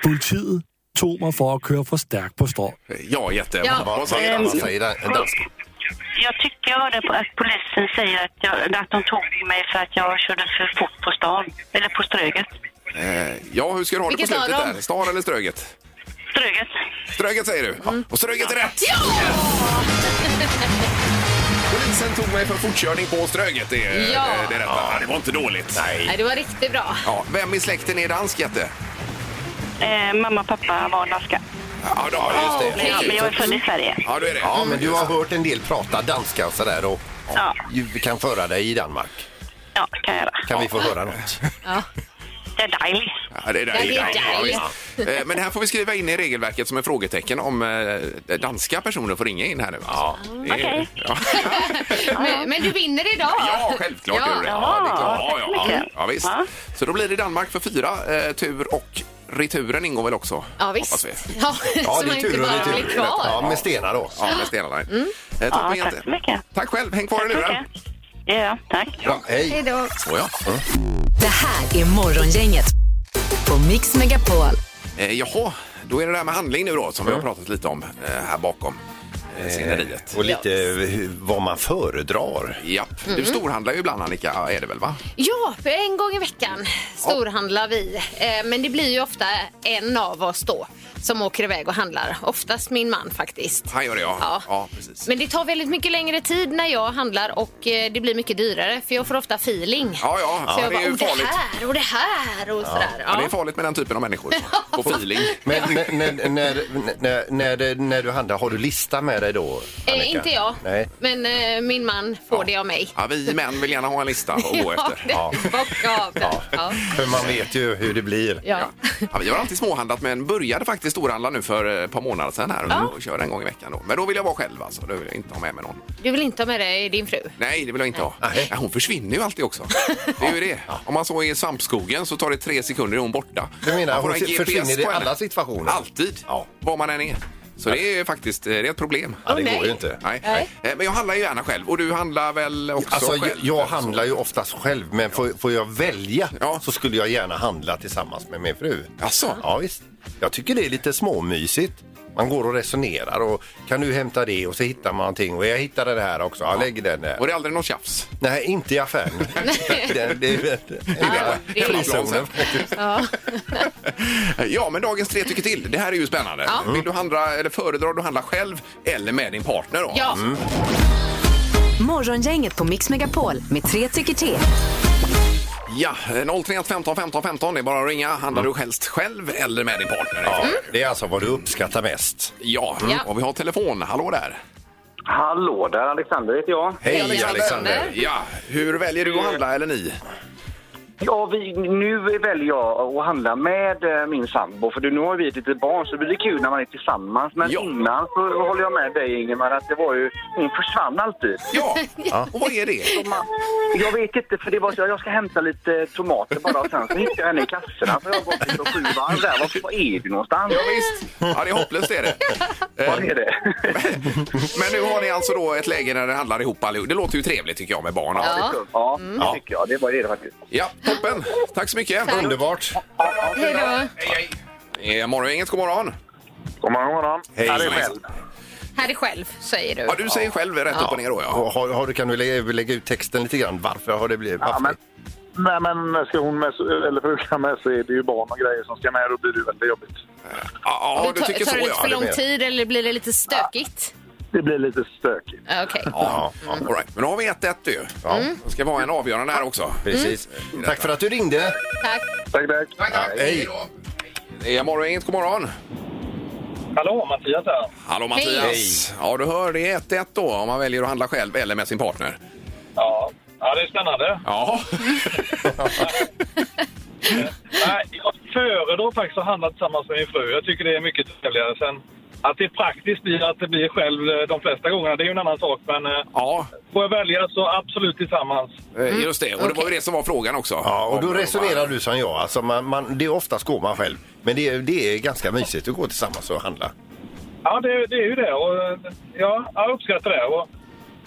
[SPEAKER 9] Politiet tog mig for at køre for stærkt på strå.
[SPEAKER 4] Ja, Jätte.
[SPEAKER 6] Ja.
[SPEAKER 4] Vad säger
[SPEAKER 5] Vad
[SPEAKER 4] dansken?
[SPEAKER 5] säger den- dansken?
[SPEAKER 2] Jag tycker jag hörde på att polisen säger att, jag, att de tog mig för att jag körde för fort på stan. Eller på Ströget.
[SPEAKER 4] Eh, ja, hur ska du ha det på
[SPEAKER 6] Vilket
[SPEAKER 4] slutet
[SPEAKER 6] öron?
[SPEAKER 4] där? Star eller Ströget?
[SPEAKER 2] Ströget.
[SPEAKER 4] Ströget säger du? Ja. Och Ströget är rätt! Polisen tog mig för fortkörning på Ströget. Det, är-
[SPEAKER 6] Ja.
[SPEAKER 4] det, det, är rätt. Ja, det var inte dåligt. Nej.
[SPEAKER 6] Nej, det var riktigt bra.
[SPEAKER 4] Ja, vem i släkten är dansk, Jätte?
[SPEAKER 2] Eh, mamma och pappa var danska.
[SPEAKER 4] Ja, då, ja, just det.
[SPEAKER 2] Men jag, men jag är född i Sverige.
[SPEAKER 4] Ja, du är det.
[SPEAKER 5] Ja, men du har hört en del prata danska och sådär och
[SPEAKER 2] Ja,
[SPEAKER 5] du kan föra dig i Danmark.
[SPEAKER 2] ja det kan jag göra.
[SPEAKER 5] Kan vi få höra något?
[SPEAKER 2] Det är dejligt.
[SPEAKER 4] Ja, det är där.
[SPEAKER 6] Ja, det är där.
[SPEAKER 4] visst. Eh, Men det här får vi skriva in i regelverket som en frågetecken om eh, danska personer får ringa in här nu. Ja,
[SPEAKER 2] Okej.
[SPEAKER 4] ja.
[SPEAKER 6] Men, men du vinner idag.
[SPEAKER 4] ja självklart
[SPEAKER 6] Ja.
[SPEAKER 4] gör du det.
[SPEAKER 2] Ja,
[SPEAKER 4] det är klart.
[SPEAKER 2] tack så
[SPEAKER 4] ja, ja.
[SPEAKER 2] mycket.
[SPEAKER 4] ja, visst.
[SPEAKER 2] Ja.
[SPEAKER 4] Så då blir det Danmark för fyra eh, tur och returen ingår väl också?
[SPEAKER 6] Ja, visst.
[SPEAKER 4] hoppas vi.
[SPEAKER 6] Ja, så man inte bara blir kvar.
[SPEAKER 5] Ja, med stenar då.
[SPEAKER 4] Ja, med stenarna. Eh, tack,
[SPEAKER 2] Ja,
[SPEAKER 4] med
[SPEAKER 2] tack så mycket.
[SPEAKER 4] tack själv. Häng kvar i luren.
[SPEAKER 2] Okej. Ja, ja, tack.
[SPEAKER 5] Ja, hej.
[SPEAKER 6] Hejdå.
[SPEAKER 4] Oh, ja.
[SPEAKER 3] Det här är Morgongänget på Mix Megapol.
[SPEAKER 4] eh, jaha, då är det det här med handling nu då som vi har pratat lite om eh, här bakom eh, sceneriet.
[SPEAKER 5] Och lite eh, vad man föredrar.
[SPEAKER 4] Ja, du storhandlar ju ibland Annika, är det väl va?
[SPEAKER 6] Ja, för en gång i veckan storhandlar vi. Eh, Men det blir ju ofta en av oss då som åker iväg och handlar. Oftast min man faktiskt.
[SPEAKER 4] Han gör det ja. Ja,
[SPEAKER 6] Ja.
[SPEAKER 4] precis.
[SPEAKER 6] Men det tar väldigt mycket längre tid när jag handlar och eh, det blir mycket dyrare för jag får ofta feeling.
[SPEAKER 4] Ja, ja,
[SPEAKER 6] Så
[SPEAKER 4] ja
[SPEAKER 6] jag
[SPEAKER 4] det är
[SPEAKER 6] bara,
[SPEAKER 4] ju
[SPEAKER 6] "Oh, det
[SPEAKER 4] farligt.
[SPEAKER 6] här och det här och sådär.
[SPEAKER 4] Ja,
[SPEAKER 6] Ja.
[SPEAKER 4] det är farligt med den typen av människor. På feeling.
[SPEAKER 5] Men men- men- när, när, när, det- när du handlar, har du lista med dig då? Annika?
[SPEAKER 6] Eh, inte jag,
[SPEAKER 5] Nej.
[SPEAKER 6] men eh, min man får det av mig.
[SPEAKER 4] Ja, vi män vill gärna ha en lista att gå efter.
[SPEAKER 6] det är bocka av den. Ja.
[SPEAKER 5] För man vet ju hur det blir.
[SPEAKER 6] Ja.
[SPEAKER 4] Ja, vi har alltid småhandlat men började faktiskt storhandla nu för eh, ett par månader sedan här och kör en gång i veckan. Då. Men då vill jag vara själv alltså. Då vill jag inte ha med mig någon.
[SPEAKER 6] Du vill inte ha med dig din fru?
[SPEAKER 4] Nej, det vill jag inte ha. Nej, hon försvinner ju alltid också. Det är ju det. Om man så är i svampskogen så tar det tre sekunder är hon borta.
[SPEAKER 5] Du menar,
[SPEAKER 4] Man får
[SPEAKER 5] hon
[SPEAKER 4] en
[SPEAKER 5] se-
[SPEAKER 4] GPS
[SPEAKER 5] försvinner i
[SPEAKER 4] på henne.
[SPEAKER 5] alla situationer?
[SPEAKER 4] Alltid,
[SPEAKER 5] Ja.
[SPEAKER 4] var man än är. Så det är faktiskt eh, det är ett problem.
[SPEAKER 5] Ja, det
[SPEAKER 6] Åh, nej.
[SPEAKER 5] går ju inte.
[SPEAKER 4] Nej.
[SPEAKER 6] Nej.
[SPEAKER 4] Eh, Men jag handlar ju gärna själv och du handlar väl också
[SPEAKER 5] Alltså, jag,
[SPEAKER 4] själv?
[SPEAKER 5] jag handlar ju oftast själv, men får, får jag välja
[SPEAKER 4] Ja.
[SPEAKER 5] så skulle jag gärna handla tillsammans med min fru.
[SPEAKER 4] Alltså,
[SPEAKER 5] Ja, visst. Jag tycker det är lite småmysigt. Man går och resonerar och kan du hämta det och så hittar man någonting och jag hittade det här också. Jag lägger den där.
[SPEAKER 4] och det är aldrig något tjafs?
[SPEAKER 5] Nej, inte i affären. det, det, det,
[SPEAKER 6] det är
[SPEAKER 5] frizonen.
[SPEAKER 4] Ja, men dagens tre tycker till. Det här är ju spännande.
[SPEAKER 6] Ja.
[SPEAKER 4] Vill du handla, eller föredrar du att handla själv eller med din partner? Då?
[SPEAKER 6] Ja,
[SPEAKER 3] Morgongänget på Mix Megapol med tre tycker till.
[SPEAKER 4] ja eh, 031 15 15 15. Det är bara att ringa. Handlar
[SPEAKER 5] Mm.
[SPEAKER 4] du helst själv eller med din partner? Ja.
[SPEAKER 5] det är alltså vad du uppskattar mest.
[SPEAKER 4] ja.
[SPEAKER 6] Ja.
[SPEAKER 4] Och vi har telefon. Hallå där.
[SPEAKER 1] Hallå där, Alexander heter jag.
[SPEAKER 5] Hej
[SPEAKER 6] Alexander.
[SPEAKER 5] Alexander!
[SPEAKER 4] Ja. Hur väljer du att handla eller ni?
[SPEAKER 10] Ja, vi, nu väljer jag att handla med eh, min sambo, för nu har vi ett litet barn så det blir kul när man är tillsammans. Men
[SPEAKER 4] Ja.
[SPEAKER 10] innan så håller jag med dig Ingemar att det var ju, hon försvann alltid.
[SPEAKER 4] Ja, och vad är det?
[SPEAKER 10] Jag vet inte, för det var så, jag ska hämta lite tomater bara och sen så hittar jag henne i kassorna. För jag har gått ut och sju varv där. Var, var är du någonstans?
[SPEAKER 4] Ja, visst. Ja, det är hopplöst är det. Eh,
[SPEAKER 10] Var är det?
[SPEAKER 4] Men nu har ni alltså då ett läge där det handlar ihop allihop. Det låter ju trevligt tycker jag med barn. och allt.
[SPEAKER 10] Ja, det tycker jag. Det var det faktiskt.
[SPEAKER 4] Ja, toppen. Tack så mycket.
[SPEAKER 5] Underbart.
[SPEAKER 6] Hej då.
[SPEAKER 4] Eh, Morgongänget, god morgon.
[SPEAKER 10] God morgon, god morgon.
[SPEAKER 5] Hej.
[SPEAKER 6] Här är själv, säger du.
[SPEAKER 4] Ja, du säger själv rätt upp och ner då, ja.
[SPEAKER 5] Och Har, har du, kan du lägga, lägga ut texten lite grann? Varför har det blivit?
[SPEAKER 10] Ja,
[SPEAKER 5] Varför?
[SPEAKER 10] men, nej, men ska hon med, eller frugan med så är det ju barn och grejer som ska med. Då blir det väldigt jobbigt.
[SPEAKER 4] Ja, du
[SPEAKER 6] tar,
[SPEAKER 4] tycker
[SPEAKER 6] tar
[SPEAKER 4] så,
[SPEAKER 6] det lite
[SPEAKER 4] ja.
[SPEAKER 6] för lång
[SPEAKER 5] med.
[SPEAKER 6] tid eller blir det lite stökigt?
[SPEAKER 10] Det blir lite stökigt.
[SPEAKER 6] Ja. Okej.
[SPEAKER 4] Ja, all right. Men då har vi 1-1 ju.
[SPEAKER 5] Ja.
[SPEAKER 4] Det ska vara en avgörande här också.
[SPEAKER 5] Precis. Tack för att du ringde.
[SPEAKER 6] Tack.
[SPEAKER 10] Tack, tack.
[SPEAKER 4] Mm. Ja, Hej då. Eh, Morgongänget, god morgon.
[SPEAKER 1] Hallå, Mattias här.
[SPEAKER 4] Hallå Mattias. Ja, du hör, det är 1-1 då om man väljer att handla själv eller med sin partner.
[SPEAKER 1] Ja, ja det är spännande.
[SPEAKER 4] Ja.
[SPEAKER 1] Nej, jag föredrar faktiskt att handla tillsammans med min fru. Jag tycker det är mycket trevligare. Sen att det praktiskt blir att det blir själv eh, de flesta gångerna, det är ju en annan sak. Men eh,
[SPEAKER 4] ja,
[SPEAKER 1] får jag välja så absolut tillsammans.
[SPEAKER 4] eh, just det. Och det var ju det som var frågan också.
[SPEAKER 5] Mm. Ja, och då resonerar du som jag. Alltså man, man, det är oftast går man själv. Men det, är- det är ganska mysigt att gå tillsammans och handla.
[SPEAKER 1] Ja, det, det är ju det. Och, eh, ja, jag uppskattar det. Och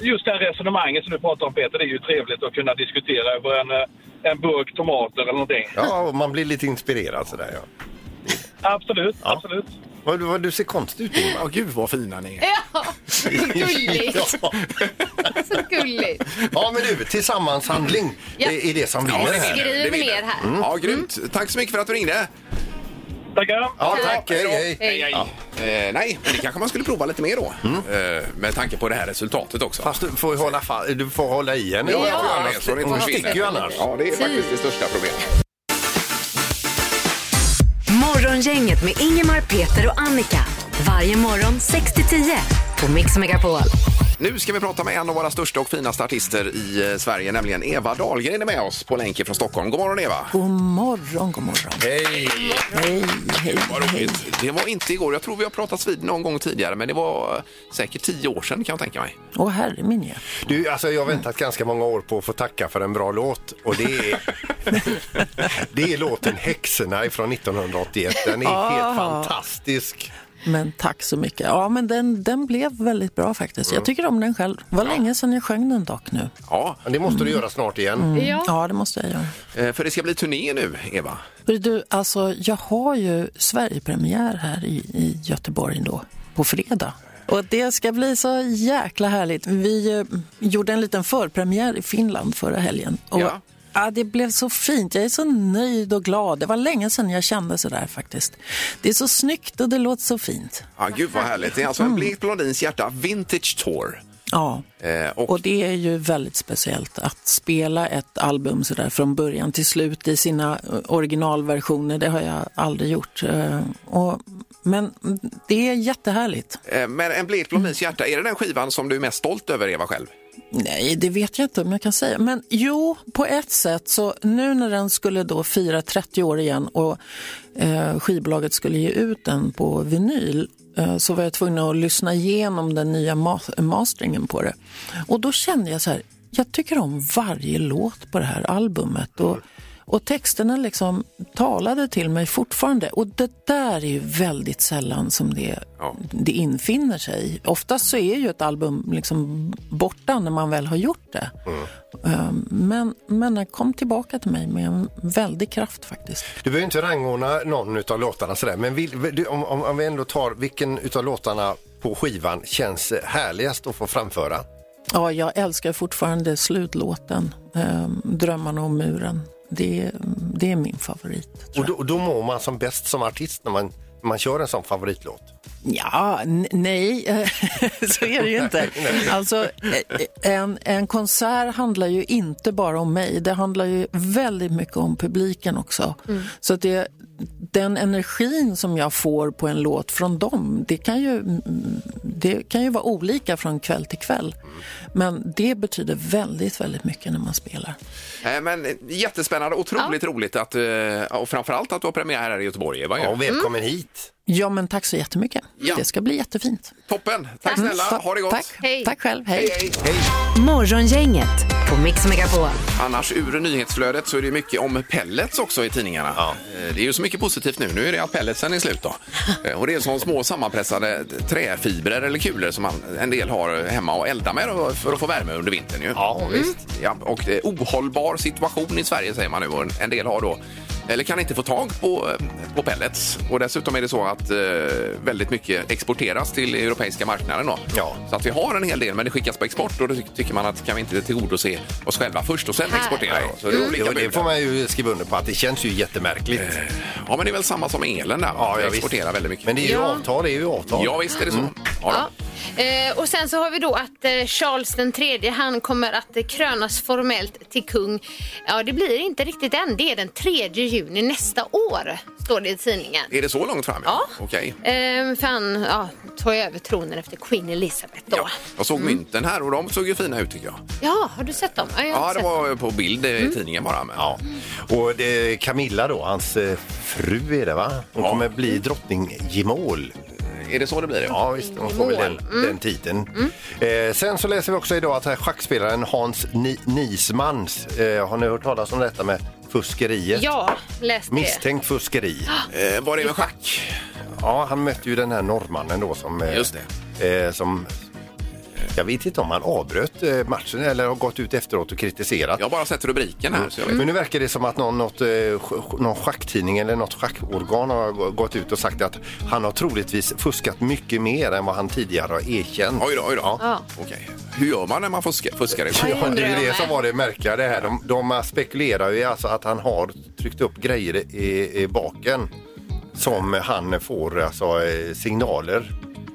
[SPEAKER 1] just det här resonemanget som du pratar om Peter, det är ju trevligt att kunna diskutera över en, eh, en burk tomater eller någonting.
[SPEAKER 5] Ja, och man blir lite inspirerad sådär. Ja.
[SPEAKER 1] Absolut,
[SPEAKER 5] Ja.
[SPEAKER 1] absolut.
[SPEAKER 5] Vad, vad, du ser konstig ut Ingmar.
[SPEAKER 4] Ja, gud vad fina ni är.
[SPEAKER 6] Ja, så gulligt.
[SPEAKER 5] Ja.
[SPEAKER 6] Så gulligt.
[SPEAKER 5] ja, men du, tillsammanshandling
[SPEAKER 6] Ja.
[SPEAKER 5] är, är det som vinner här.
[SPEAKER 4] vinner.
[SPEAKER 6] Skriv
[SPEAKER 4] vinner.
[SPEAKER 6] ner här. Mm.
[SPEAKER 4] Ja, grymt. Tack så mycket för att du ringde. Eh,
[SPEAKER 1] Tackar!
[SPEAKER 5] Ja, tack. Hej, hej.
[SPEAKER 6] Hej.
[SPEAKER 4] Ja. Eh, nej, men det kanske man skulle prova lite mer då. Eh, med tanke på det här resultatet också.
[SPEAKER 5] Mm. Fast du får, ju hålla, fa- du får hålla i henne.
[SPEAKER 4] Ja, jag får göra det, så det inte
[SPEAKER 5] Hon
[SPEAKER 4] försvinner.
[SPEAKER 5] sticker ju annars.
[SPEAKER 4] Ja, det är faktiskt det största problemet.
[SPEAKER 3] Morgongänget med Ingemar, Peter och Annika. Varje morgon 6 till 10 på Mix Megapol.
[SPEAKER 4] Nu ska vi prata med en av våra största och finaste artister i eh, Sverige, nämligen Eva Dahlgren är med oss på länk från Stockholm. God morgon Eva!
[SPEAKER 11] God morgon, god morgon.
[SPEAKER 5] Hej.
[SPEAKER 11] Hej, hej,
[SPEAKER 4] Vad roligt. Det var inte igår. Jag tror vi har pratats vid någon gång tidigare, men det var eh, säkert tio år sedan kan jag tänka mig.
[SPEAKER 11] Åh herre min ja.
[SPEAKER 5] Du, alltså jag har väntat ganska många år på att få tacka för en bra låt och det är, det är låten Häxorna från 1981. Den är helt fantastisk.
[SPEAKER 11] Men tack så mycket. Ja, men den, den blev väldigt bra faktiskt. Jag tycker om den själv. Det var länge sedan jag sjöng den dock nu.
[SPEAKER 4] Ja,
[SPEAKER 5] Men Det måste du göra snart igen.
[SPEAKER 6] Ja.
[SPEAKER 11] Ja, det måste jag göra.
[SPEAKER 4] eh, för det ska bli turné nu, Eva.
[SPEAKER 11] Hörru Du, alltså, jag har ju Sverigepremiär här i, i Göteborg då, på fredag. Och det ska bli så jäkla härligt. Vi eh, gjorde en liten förpremiär i Finland förra helgen. Och,
[SPEAKER 4] Ja.
[SPEAKER 11] ja. det blev så fint. Jag är så nöjd och glad. Det var länge sedan jag kände så där faktiskt. Det är så snyggt och det låter så fint.
[SPEAKER 4] Ja, gud vad härligt. Det är alltså
[SPEAKER 11] Mm.
[SPEAKER 4] en Blekt Blondins hjärta Vintage Tour.
[SPEAKER 11] Ja.
[SPEAKER 4] Eh, och,
[SPEAKER 11] Och det är ju väldigt speciellt att spela ett album sådär från början till slut i sina eh, originalversioner. Det har jag aldrig gjort. Eh, Och, men det är jättehärligt.
[SPEAKER 4] eh, men en Blekt Blondins hjärta, är det den skivan som du är mest stolt över, Eva, själv?
[SPEAKER 11] Nej, det vet jag inte om jag kan säga. Men jo, på ett sätt så nu när den skulle då fira 30 år igen och eh, skivbolaget skulle ge ut den på vinyl eh, så var jag tvungen att lyssna igenom den nya ma- masteringen på det. Och då kände jag så här, jag tycker om varje låt på det här albumet. Och, och texterna liksom talade till mig fortfarande. Och det där är ju väldigt sällan som det,
[SPEAKER 4] Ja.
[SPEAKER 11] det infinner sig. Oftast så är ju ett album liksom borta när man väl har gjort det. Ehm, Men, men den kom tillbaka till mig med en väldig kraft faktiskt.
[SPEAKER 5] Du behöver inte rangordna någon utav låtarna sådär, men vill, du, om, om, om vi ändå tar vilken utav låtarna på skivan känns härligast att få framföra?
[SPEAKER 11] Ja, jag älskar fortfarande slutlåten, ehm, Drömmarna om muren. Det, det är min favorit.
[SPEAKER 5] Och då, då mår man som bäst som artist när man, när man kör en sån favoritlåt.
[SPEAKER 11] Ja, n- nej, eh, så är det ju inte. Alltså, eh, en, en konsert handlar ju inte bara om mig. Det handlar ju väldigt mycket om publiken också. Så att det, den energin som jag får på en låt från dem, det kan ju, mm, det kan ju vara olika från kväll till kväll. Men det betyder väldigt, väldigt mycket när man spelar.
[SPEAKER 4] Eh, Men jättespännande, otroligt roligt att, eh, och framförallt att du har premiär här i Göteborg. Vad
[SPEAKER 5] Ja, och välkommen hit.
[SPEAKER 11] Ja, men tack så jättemycket.
[SPEAKER 4] Ja.
[SPEAKER 11] Det ska bli jättefint.
[SPEAKER 4] Toppen, tack
[SPEAKER 11] Mm,
[SPEAKER 4] snälla,
[SPEAKER 11] så-
[SPEAKER 4] ha det gott.
[SPEAKER 11] Tack, tack själv, hej.
[SPEAKER 3] Morgongänget på Mix Megapol.
[SPEAKER 4] Annars ur nyhetsflödet så är det ju mycket om pellets också i tidningarna. Eh, Det är ju så mycket positivt nu. Nu är det att pelletsen är slut då. Eh, Och det är som små sammanpressade träfibrer eller kulor som man, en del har hemma och eldar med då för att få värme under vintern ju. Ja, visst. Ja, och eh, ohållbar situation i Sverige säger man nu och en del har då eller kan inte få tag på, eh, på pellets. Och dessutom är det så att eh, väldigt mycket exporteras till europeiska marknaden. Då.
[SPEAKER 5] Ja.
[SPEAKER 4] Så att vi har en hel del, men det skickas på export och då ty- tycker man att kan vi inte tillgodose oss själva först och sen
[SPEAKER 6] Här.
[SPEAKER 4] exportera? då? Så det, är
[SPEAKER 5] Mm.
[SPEAKER 4] olika
[SPEAKER 5] Jo, det
[SPEAKER 4] bud.
[SPEAKER 5] får man ju skriva under på att det känns ju jättemärkligt.
[SPEAKER 4] Ja, men det är väl samma som med elen där, ja,
[SPEAKER 5] ja,
[SPEAKER 4] vi
[SPEAKER 5] visst.
[SPEAKER 4] exporterar väldigt mycket.
[SPEAKER 5] Men det är ju
[SPEAKER 6] Ja.
[SPEAKER 5] avtal, Mm. det är ju avtal.
[SPEAKER 4] Ja, visst är det så. Ja, då.
[SPEAKER 6] Ja. Eh, och sen så har vi då att eh, Charles den tredje, han kommer att eh, krönas formellt till kung. Ja, det blir inte riktigt än. Det är den 3 juni nästa år, står det i tidningen.
[SPEAKER 4] Är det så långt fram?
[SPEAKER 6] Ja.
[SPEAKER 4] Okej.
[SPEAKER 6] Eh, för han ja, tar ju över tronen efter Queen Elizabeth då. Ja,
[SPEAKER 4] Jag såg
[SPEAKER 6] Mm.
[SPEAKER 4] mynten här och de såg ju fina ut tycker jag.
[SPEAKER 6] har du sett dem? jag har
[SPEAKER 4] Ja,
[SPEAKER 6] inte
[SPEAKER 4] det
[SPEAKER 6] sett
[SPEAKER 4] var på bild
[SPEAKER 6] Mm.
[SPEAKER 4] i tidningen bara. Men, ja.
[SPEAKER 5] Och det, Camilla då, hans eh, fru är det va? Hon kommer bli drottning Gimol.
[SPEAKER 4] Är det så det blir? Det?
[SPEAKER 5] Ja visst, hon får väl den,
[SPEAKER 6] Mm.
[SPEAKER 5] den titeln. Eh, sen så läser vi också idag att här schackspelaren Hans Ni- Nismans, eh, har ni hört talas om detta med fuskeriet?
[SPEAKER 6] dem. Ja, läst det.
[SPEAKER 5] Misstänkt fuskeri.
[SPEAKER 4] Eh, var det med schack?
[SPEAKER 5] Ja, han mötte ju den här norrmannen då som... eh,
[SPEAKER 4] Just
[SPEAKER 5] Eh, som jag vet inte om han avbröt eh, matchen eller har gått ut efteråt och kritiserat.
[SPEAKER 4] Jag har bara sett rubriken här. Så jag vet.
[SPEAKER 5] Men nu verkar det som att någon, något, eh, sj- någon schacktidning eller något schackorgan har g- gått ut och sagt att han har troligtvis fuskat mycket mer än vad han tidigare har erkänt.
[SPEAKER 4] Oj då, oj då.
[SPEAKER 6] Ja.
[SPEAKER 4] Okej. Hur gör man när man fuskar? fuskar i schack?
[SPEAKER 5] Ja, det är
[SPEAKER 6] undrar
[SPEAKER 5] ju det
[SPEAKER 6] jag
[SPEAKER 5] som
[SPEAKER 6] med.
[SPEAKER 5] var det märkliga det här. De, de spekulerar ju alltså att han har tryckt upp grejer i, i baken som han får alltså, eh, signaler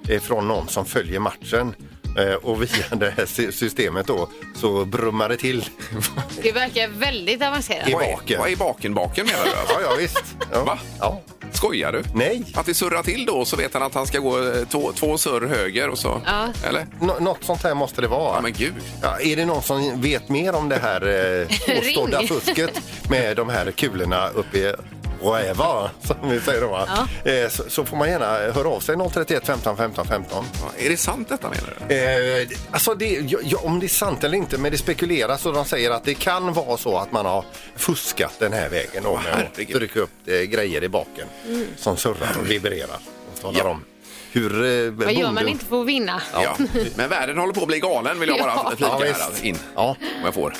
[SPEAKER 5] eh, från någon som följer matchen. Eh, Och via det här sy- systemet då så brummar det till
[SPEAKER 6] Det verkar väldigt avancerat.
[SPEAKER 5] i
[SPEAKER 4] Vad är-
[SPEAKER 5] baken.
[SPEAKER 4] Vad är baken-baken menar du?
[SPEAKER 5] Ja, ja visst. Ja.
[SPEAKER 4] Va?
[SPEAKER 5] Ja.
[SPEAKER 4] Skojar du?
[SPEAKER 5] Nej.
[SPEAKER 4] Att det surrar till då så vet han att han ska gå eh, två, två surr höger och så...
[SPEAKER 6] Ja.
[SPEAKER 4] Eller?
[SPEAKER 5] Nå något sånt här måste det vara.
[SPEAKER 4] Ja men gud.
[SPEAKER 5] Ja, är det någon som vet mer om det här eh, påstådda
[SPEAKER 6] Ring.
[SPEAKER 5] fusket med de här kulorna uppe i Räva, som vi säger då, va? Eh, så, så får man gärna höra av sig 031 15 15 15.
[SPEAKER 4] Ja, Är det sant detta menar du?
[SPEAKER 5] Eh, alltså det, ja, ja, om det är sant eller inte, men det spekuleras och de säger att det kan vara så att man har fuskat den här vägen då, med att
[SPEAKER 4] herregud.
[SPEAKER 5] trycka upp eh, grejer i baken
[SPEAKER 6] Mm.
[SPEAKER 5] som surrar och vibrerar och talar
[SPEAKER 4] Ja.
[SPEAKER 5] om hur eh,
[SPEAKER 6] Vad gör man
[SPEAKER 5] bonden-
[SPEAKER 6] inte för att vinna?
[SPEAKER 4] Ja. Men världen håller på att bli galen vill jag bara
[SPEAKER 6] Ja.
[SPEAKER 4] flika
[SPEAKER 5] Ja,
[SPEAKER 4] här
[SPEAKER 5] visst.
[SPEAKER 4] alltså, in.
[SPEAKER 5] Ja.
[SPEAKER 4] Om jag får.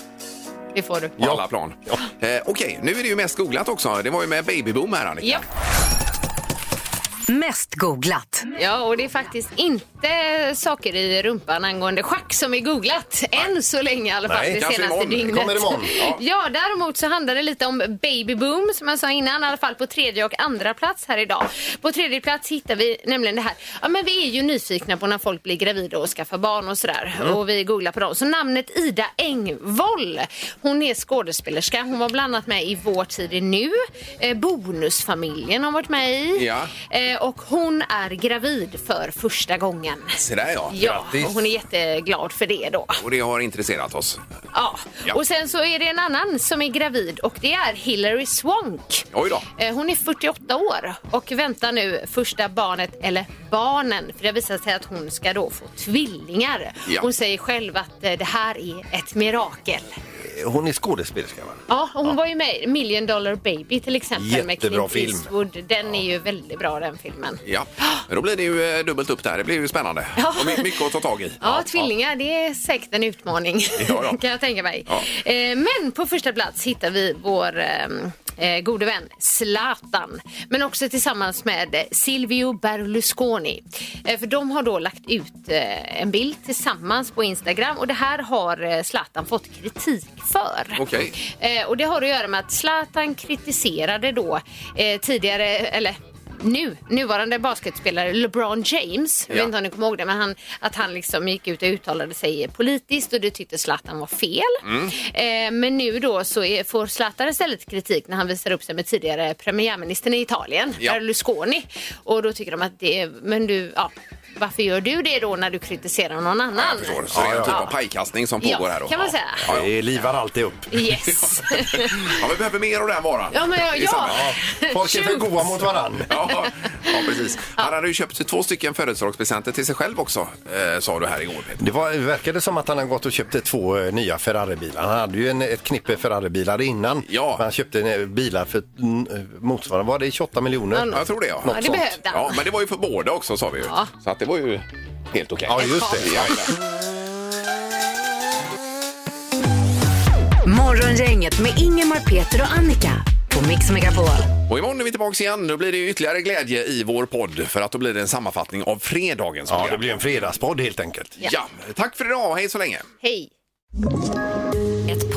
[SPEAKER 6] Det får du.
[SPEAKER 4] På alla plan. Eh, Okej, nu är det ju mest googlat också. Det var ju med babyboom här Annika.
[SPEAKER 6] Ja.
[SPEAKER 3] Mest googlat.
[SPEAKER 6] ja, och det är faktiskt inte saker i rumpan angående schack som är googlat. Än så länge i alla fall,
[SPEAKER 5] Nej,
[SPEAKER 6] det
[SPEAKER 4] kanske
[SPEAKER 6] senaste
[SPEAKER 4] imorgon.
[SPEAKER 6] dygnet.
[SPEAKER 5] Kommer imorgon.
[SPEAKER 6] Ja. däremot så handlar det lite om baby boom som jag sa innan, i alla fall på tredje och andra plats här idag. På tredje plats hittar vi nämligen det här. Ja, men vi är ju nyfikna på när folk blir gravida och skaffar barn och sådär. Och vi googlar på dem. Så namnet Ida Engvall, hon är skådespelerska. Hon var bland annat med i Vår tid är nu. Eh, bonusfamiljen har varit med i.
[SPEAKER 4] Ja.
[SPEAKER 6] Eh, och hon är gravid för första gången.
[SPEAKER 4] Se där ja.
[SPEAKER 6] Ja, och hon är jätteglad för det då.
[SPEAKER 4] Och det har intresserat oss.
[SPEAKER 6] Ja.
[SPEAKER 4] Ja.
[SPEAKER 6] Och sen så är det en annan som är gravid och det är Hillary Swank.
[SPEAKER 4] Oj då.
[SPEAKER 6] Eh, Hon är 48 år och väntar nu första barnet, eller barnen, för det har visat sig att hon ska då få tvillingar.
[SPEAKER 4] Ja.
[SPEAKER 6] Hon säger själv att eh, det här är ett mirakel.
[SPEAKER 5] Hon är skådespelerska va?
[SPEAKER 6] Ja, och hon var ju med i Million Dollar Baby till exempel med
[SPEAKER 5] Jättebra
[SPEAKER 6] Clint
[SPEAKER 5] film.
[SPEAKER 6] Eastwood. Den är ju väldigt bra den filmen.
[SPEAKER 4] Ja, men då blir det ju eh, dubbelt upp där. Det blir ju spännande.
[SPEAKER 6] Ja.
[SPEAKER 4] Och my- mycket att ta tag i.
[SPEAKER 6] Ja, tvillingar, det är säkert en utmaning.
[SPEAKER 4] Ja, ja.
[SPEAKER 6] kan jag tänka mig.
[SPEAKER 4] Ja.
[SPEAKER 6] Eh, men på första plats hittar vi vår eh, eh, gode vän Zlatan. Men också tillsammans med eh, Silvio Berlusconi. Eh, för de har då lagt ut eh, en bild tillsammans på Instagram och det här har eh, Zlatan fått kritik för.
[SPEAKER 4] Okej.
[SPEAKER 6] Eh, och det har att göra med att Zlatan kritiserade då eh, tidigare, eller nu, nuvarande basketspelare LeBron James, jag
[SPEAKER 12] Ja.
[SPEAKER 6] vet inte om ni kommer ihåg det, men han, att han liksom gick ut och uttalade sig politiskt och det tyckte Zlatan var fel.
[SPEAKER 12] Mm.
[SPEAKER 6] Eh, men nu då så är, får Zlatan istället kritik när han visar upp sig med tidigare premiärministern i Italien,
[SPEAKER 12] Ja.
[SPEAKER 6] Berlusconi. Och då tycker de att det är, men du, ja, varför gör du det då när du kritiserar någon annan?
[SPEAKER 4] Jag förstår. Så det är en typ av pajkastning som
[SPEAKER 6] Ja,
[SPEAKER 4] pågår här då.
[SPEAKER 6] kan man säga.
[SPEAKER 4] Ja,
[SPEAKER 5] Eh,
[SPEAKER 4] det livar alltid upp.
[SPEAKER 6] Yes.
[SPEAKER 4] Ja, vi behöver mer av den varan.
[SPEAKER 6] Ja, men ja,
[SPEAKER 4] I
[SPEAKER 6] ja.
[SPEAKER 4] samhället.
[SPEAKER 5] Folk är för goa mot varann.
[SPEAKER 4] Ja, ja precis. Han hade ju köpt två stycken födelsedagspresenter till sig själv också, eh, sa du här igår. Peter.
[SPEAKER 5] Det var, verkade som att han hade gått och köpte två eh, nya Ferraribilar. Han hade ju en, ett knippe Ferraribilar innan. Ja. Han köpte en, eh, bilar för mm, eh, motsvarande, var det 28 miljoner?
[SPEAKER 6] Ja, Jag tror det, Mm. ja.
[SPEAKER 5] Något
[SPEAKER 6] Ja, det
[SPEAKER 5] sånt.
[SPEAKER 6] behövde han. Ja, men
[SPEAKER 4] det var ju för båda också sa vi ju.
[SPEAKER 6] Ja.
[SPEAKER 4] Så att det var ju helt okej.
[SPEAKER 5] Ja, just det.
[SPEAKER 4] Ja,
[SPEAKER 3] Morgongänget med Ingemar, Peter och Annika på Mix Megapol.
[SPEAKER 4] Och imorgon är vi tillbaka igen. Då blir det ju ytterligare glädje i vår podd för att då blir det en sammanfattning av fredagens program. Ja, det blir
[SPEAKER 5] en fredagspodd helt enkelt.
[SPEAKER 4] Ja. tack för idag. Hej så länge.
[SPEAKER 6] Hej!
[SPEAKER 13] Ett